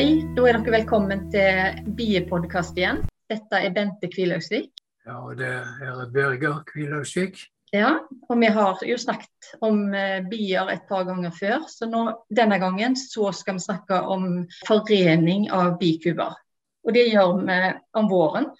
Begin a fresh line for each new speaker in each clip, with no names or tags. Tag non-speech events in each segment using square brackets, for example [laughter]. dere velkommen til Biepodkast igjen. Dette er Bente Kvilhaugsvik.
Ja, og det er Børger Kvilhaugsvik.
Ja, og vi har jo snakket om eh, bier et par ganger før, så nå, denne gangen så skal vi snakke om forening av bikuber. Og det gjør vi om våren.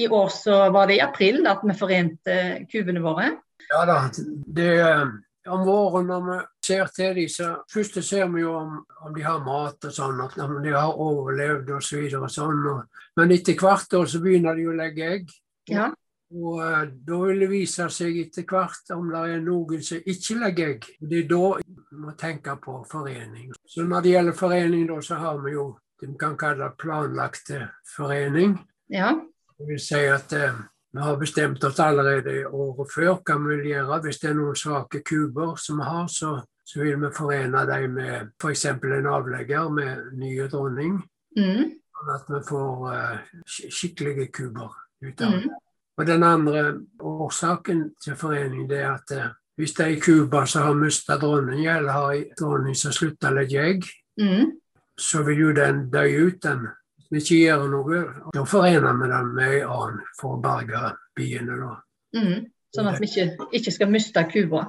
I år så var det i april at vi forente kubene våre.
Ja da, det er um, om våren når vi ser til dem, så først så ser vi jo om, om de har mat og sånn, og om de har overlevd og så videre og sånn. Og, men etter hvert år så begynner de å legge egg.
Ja,
Og eh, da vil det vise seg etter hvert om det er noen som ikke legger egg. Og Det er da vi må tenke på forening. Så når det gjelder forening, da, så har vi jo det vi kan kalle planlagte forening.
ja,
Det vil si at eh, vi har bestemt oss allerede i året før hva vi vil gjøre. Hvis det er noen svake kuber som vi har, så, så vil vi forene dem med f.eks. en avlegger med nye dronning.
mm,
Sånn at vi får eh, sk- skikkelige kuber ut av det.
mm,
Og Den andre årsaken til forening det er at eh, hvis det er kuber som har mista dronning, eller har en dronning som slutter å legge egg,
mm,
så vil jo den dø ut, den. Hvis vi ikke gjør noe, da forener vi den med en annen for å berge biene, da.
mm. Sånn at vi ikke, ikke skal miste kuba.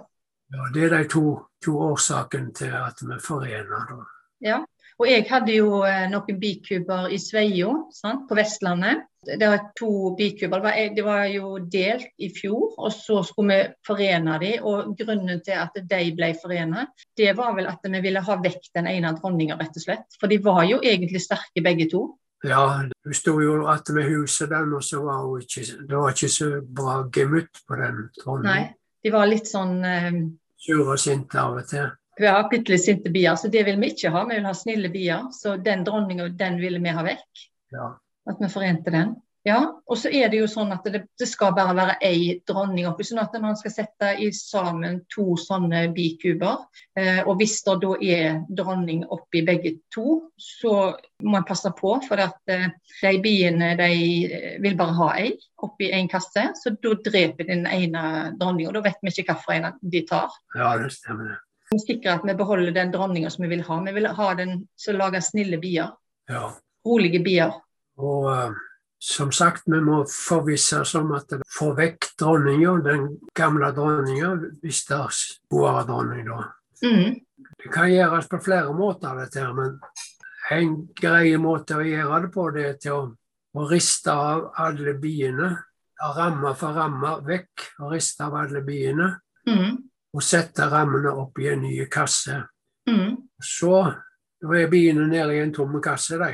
Ja, det er de to, to årsakene til at vi forener, da.
Ja, og jeg hadde jo eh, noen bikuber i Sveio sant, på Vestlandet. Det var to bikuber. Det var, det var jo delt i fjor, og så skulle vi forene de, og grunnen til at de ble forenet, det var vel at vi ville ha vekk den ene dronninga, rett og slett. For de var jo egentlig sterke begge to.
Ja, hun sto jo at med huset den, og så var hun ikke Det var ikke så bra gemytt på den
Nei,
dronningen.
de var litt sånn eh,
Sur og sint av og til.
vi har bitte litt sinte bier, så det vil vi ikke ha. Vi vil ha snille bier. Så den dronninga, den ville vi ha vekk.
Ja.
At vi forente den. Ja, og så er det jo sånn at det, det skal bare være ei dronning oppi. Sånn at man skal sette i sammen to sånne bikuber. Eh, og hvis det da er dronning oppi begge to, så må en passe på. For at eh, de biene de eh, vil bare ha ei oppi en kasse. Så da dreper den ene dronninga. Da vet vi ikke hvilken en de tar.
ja, det stemmer. det.
Vi sikrer at vi beholder den dronninga som vi vil ha. Vi vil ha den som lager snille bier.
Ja.
Rolige bier.
Og eh, som sagt, vi må forvisse oss om at vi får vekk dronninga, den gamle dronninga, hvis det er boere dronning, da.
Mm,
Det kan gjøres på flere måter, dette her, men en grei måte å gjøre det på, det er til å, å riste av alle biene. Ramme for ramme vekk og riste av alle biene.
mm,
Og sette rammene opp i en ny kasse.
mm,
Så da er biene nede i en tom kasse, de.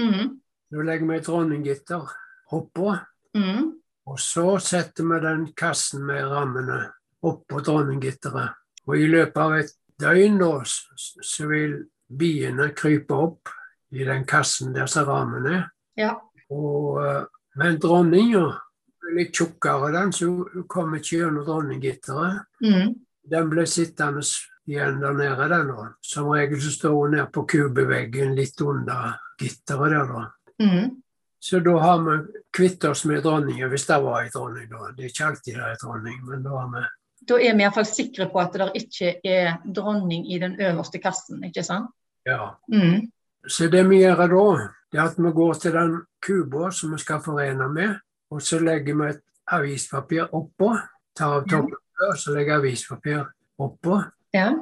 mm.
Da legger vi et dronninggitter oppå,
Mm.
og så setter vi den kassen med rammene oppå dronninggitteret. Og i løpet av et døgn nå, s- s- så vil biene krype opp i den kassen der som rammen er.
Ja.
Og, eh, men dronninga er litt tjukkere, den, så hun- hun kommer ikke gjennom dronninggitteret.
Mm.
Den ble sittende s- igjen der nede, den. da. Som regel så står hun nede på kubeveggen litt under gitteret der, da.
Mm.
Så da har vi kvitt oss med dronningen, hvis det var en dronning da. Det er ikke alltid det er en dronning, men da har vi
Da er vi iallfall sikre på at det ikke er dronning i den øverste kassen, ikke sant?
Ja.
Mm.
Så det vi gjør da, det er at vi går til den kuba som vi skal forene med, og så legger vi et avispapir oppå. Tar av toppen før, så legger avispapir oppå.
Ja.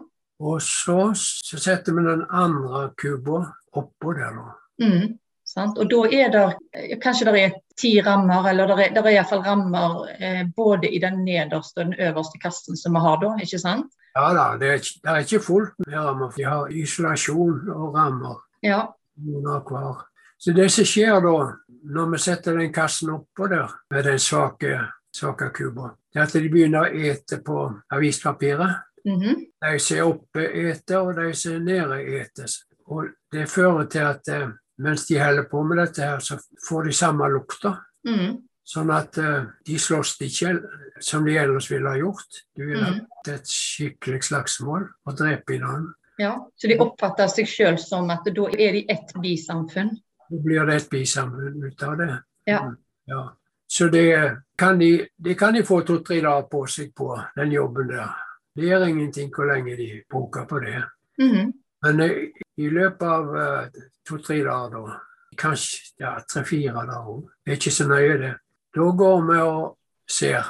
Og så, så setter vi den andre kuba oppå der, da.
Mm. Sant? Og da er det kanskje det er ti rammer, eller det er, det er iallfall rammer eh, både i den nederste og den øverste kassen som vi har da, ikke sant?
Ja da, det er, ikke- det er ikke fullt med rammer. De har isolasjon og rammer.
Ja.
noen av hver. Så det som skjer da, når vi setter den kassen oppå der med den svake, svake kuba, det er at de begynner å ete på avispapiret.
Mhm.
De som er oppe, eter, og de som er nede, eter. Og det fører til at eh, mens de holder på med dette her, så får de samme lukta.
Mm.
Sånn at eh, de slåss ikke som de ellers ville ha gjort. Du ville
Mhm.
hatt et skikkelig slagsmål og drepe i den.
ja. Så de oppfatter seg sjøl som at da er de ett bisamfunn.
Da blir det et bisamfunn ut av det.
Ja.
Mm, ja. Så det kan, de, det kan de få to-tre dager på seg på, den jobben der. Det gjør ingenting hvor lenge de bruker på det.
Mhm.
Men eh, i løpet av eh, to-tre dager, da, kanskje ja, tre-fire der òg. Det er ikke så nøye, det. Da går vi og ser.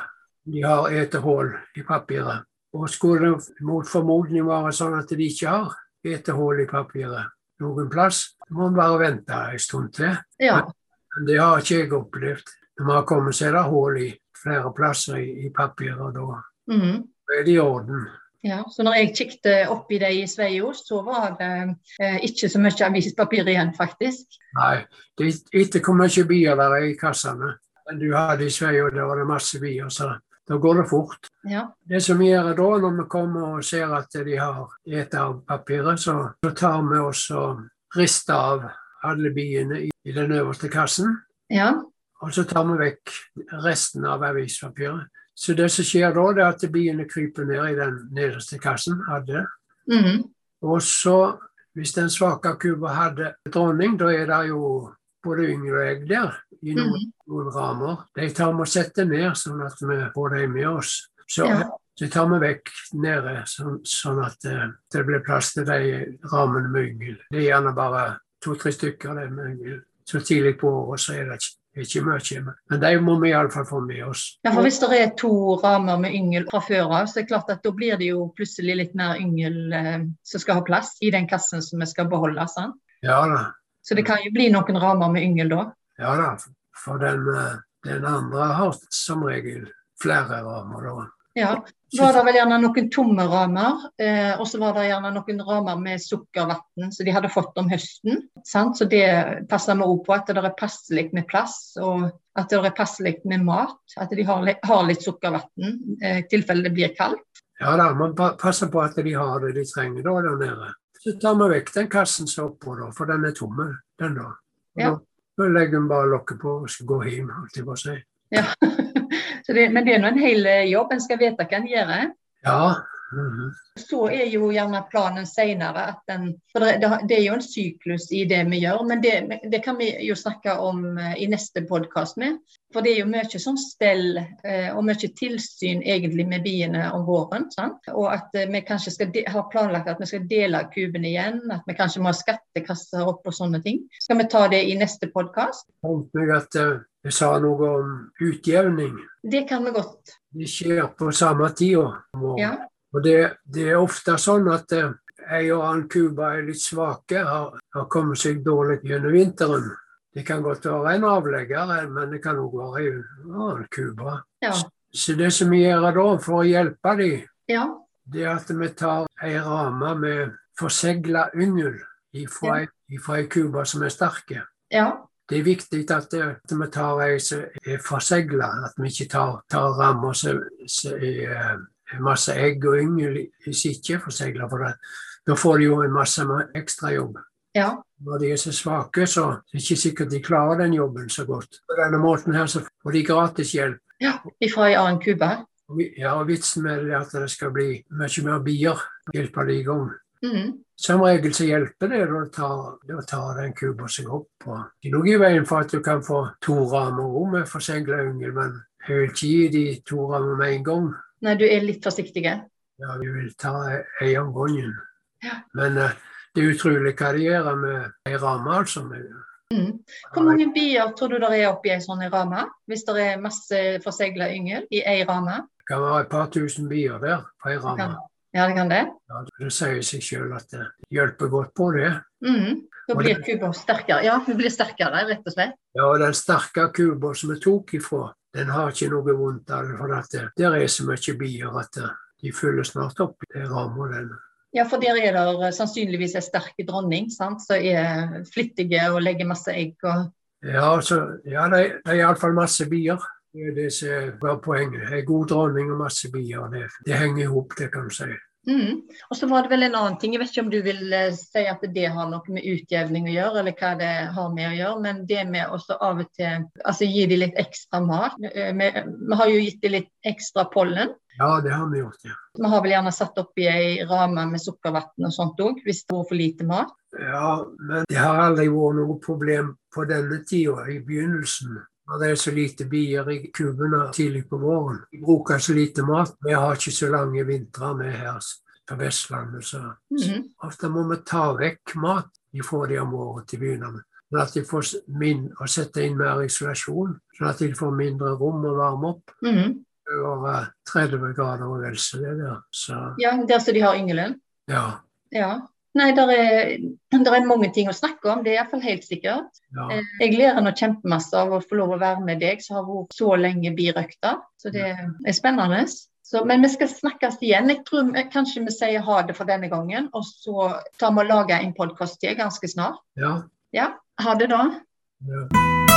De har etehull i papiret. Og skulle det mot formodning være sånn at de ikke har etehull i papiret noen plass, må en bare vente en stund til.
Ja.
Men det har ikke jeg opplevd. Når vi har kommet, så er det hull i flere plasser i, i papiret, og da
Mhm.
er det i orden.
Ja, så når jeg kikket oppi det i Sveio, så var det eh, ikke så mye avispapir igjen, faktisk.
Nei, det ikke hvor mye bier der er i kassene. Men du hadde i Sverige, og der var det masse bier, så da går det fort.
Ja.
Det som gjør det da, når vi kommer og ser at de har et av papiret, så, så tar vi oss og rister av alle biene i, i den øverste kassen.
ja.
Og så tar vi vekk resten av avispapiret. Så det som skjer da, det er at biene kryper ned i den nederste kassen. Hadde.
Mhm.
Og så, hvis den svake kuba hadde dronning, da er det jo både yngre og egg der i noen,
Mhm.
noen ramer. De tar vi og setter ned, sånn at vi får dem med oss. Så,
Ja.
så tar vi vekk nede, sånn, sånn at eh, det blir plass til de rammene med yngel. Det er gjerne bare to-tre stykker det med yngel. Så tidlig på året så er det ikke, ikke mye, men- men de må vi iallfall få med oss.
ja, for hvis det er to ramer med yngel fra før av, så er det klart at da blir det jo plutselig litt mer yngel eh, som skal ha plass i den kassen som vi skal beholde. sant?
Ja da.
Så det kan jo bli noen ramer med yngel da.
Ja da, for den, eh, den andre har som regel flere rammer da.
Ja. Så var det vel gjerne noen tomme ramer, eh, og så var det gjerne noen ramer med sukkervann som de hadde fått om høsten. Sant? Så det passer vi òg på, at det er passelig med plass, og at det er passelig med mat. At de har, li- har litt sukkervann eh, i tilfelle det blir kaldt. [laughs]
Ja da, man pa- passer på at de har det de trenger da der nede. Så tar vi vekk den kassen som er oppå da, for den er tomme, den da. Og
Ja.
da- Da legger vi bare lokket på og skal gå hjem, holdt jeg på å si.
Ja. Så det, men det er nå en hel eh, jobb, en skal vite hva en gjør.
Ja, mhm.
Så er jo gjerne planen senere at den For det, det- det er jo en syklus i det vi gjør, men det, det kan vi jo snakke om eh, i neste podkast med. For det er jo mye sånn stell eh, og mye tilsyn egentlig med biene om våren. Sant? Og at eh, vi kanskje skal de, har planlagt at vi skal dele kubene igjen, at vi kanskje må ha skattekasser opp og sånne ting. Skal vi ta det i neste podkast?
tenkte meg at eh, jeg sa noe om utjevning.
Det kan vi godt.
Det skjer på samme tid om året.
Ja.
Og det, det er ofte sånn at eh, ei og annen kuba er litt svake, har, har kommet seg dårlig gjennom vinteren. Det kan godt være en avlegger, eh, men det kan òg være en annen kuba.
Ja.
Så det som vi gjør da for å hjelpe dem,
ja.
det er at vi tar ei ramme med forsegla yngel ifra, ifra ei kube som er sterke.
ja.
Det er viktig at, eh, at vi tar ei som er forsegla, at vi ikke tar, tar rammer som som er eh, masse egg og yngel i- som ikke er forsegla. For det. da får de jo en masse ekstrajobb.
ja.
Når de er så svake, så er det ikke sikkert de klarer den jobben så godt. På denne måten her så får de gratis hjelp.
Ifra ei annen kube.
Og vi- Ja, og vitsen med det er at det skal bli mye mer bier. Hjelper det i gang.
Mm.
Som regel så hjelper det da å ta- da å ta den kuba seg opp. Og det er noe i veien for at du kan få to ramer òg med forsegla yngel, men jeg vil ikke gi de to ramer med en gang.
Nei, du er litt forsiktig.
Ja, vi vil ta ei om gangen.
Ja.
Men eh, det er utrolig hva de gjør med ei ramme, altså. med-
Mm. Hvor mange bier tror du det er oppi ei sånn ramme? Hvis det er masse forsegla yngel i ei ramme?
Det kan være et par tusen bier der på ei ramme.
Ja, det kan det.
Ja, det sier seg sjøl at det hjelper godt på det.
Mm. Da blir kuba sterkere. Ja, hun blir sterkere, rett og slett.
Ja, og den sterke kuba som vi tok ifra, den har ikke noe vondt av det. For at det, der er så mye bier at det, de fyller snart opp i ramma. den.
Ja, for der er det sannsynligvis ei sterk dronning sant? som er flittige og legger masse egg. Og...
Ja, så, ja det, det er iallfall masse bier. Det er det som var poenget. En god dronning og masse bier. Det, det henger i hop, det kan du si.
Mm. Og så var det vel en annen ting, jeg vet ikke om du vil eh, si at det har noe med utjevning å gjøre, eller hva det har med å gjøre, men det med også av og til altså gi dem litt ekstra mat. Eh, Vi, vi har jo gitt dem litt ekstra pollen.
Ja, det har vi gjort, ja.
Vi har vel gjerne satt oppi ei ramme med sukkervann og sånt òg, hvis det var for lite mat.
Ja, men det har aldri vært noe problem på denne tida i begynnelsen. Når det er så lite bier i kubene tidlig på våren. Vi bruker så lite mat. Vi har ikke så lange vintre med her s- på Vestlandet, så
Mhm.
ofte må vi ta vekk mat ifra de om året til å begynne med. Sånn at de får s- min, å sette inn mer isolasjon, sånn at de får mindre rom å varme opp.
Mhm.
Det er Over 30 grader og vel så det der. Så
Ja, der som de har yngelund.
ja.
Ja. Nei, der er, der er mange ting å snakke om, det er iallfall helt sikkert.
ja.
Eh, Jeg lærer nå kjempemasse av å få lov å være med deg som har vært så lenge birøkta. Så det er spennende. Så, men vi skal snakkes igjen. Jeg tror vi- kanskje vi sier ha det for denne gangen. Og så tar vi og lager en podkast til ganske snart.
ja.
Ja, ha det da.
ja.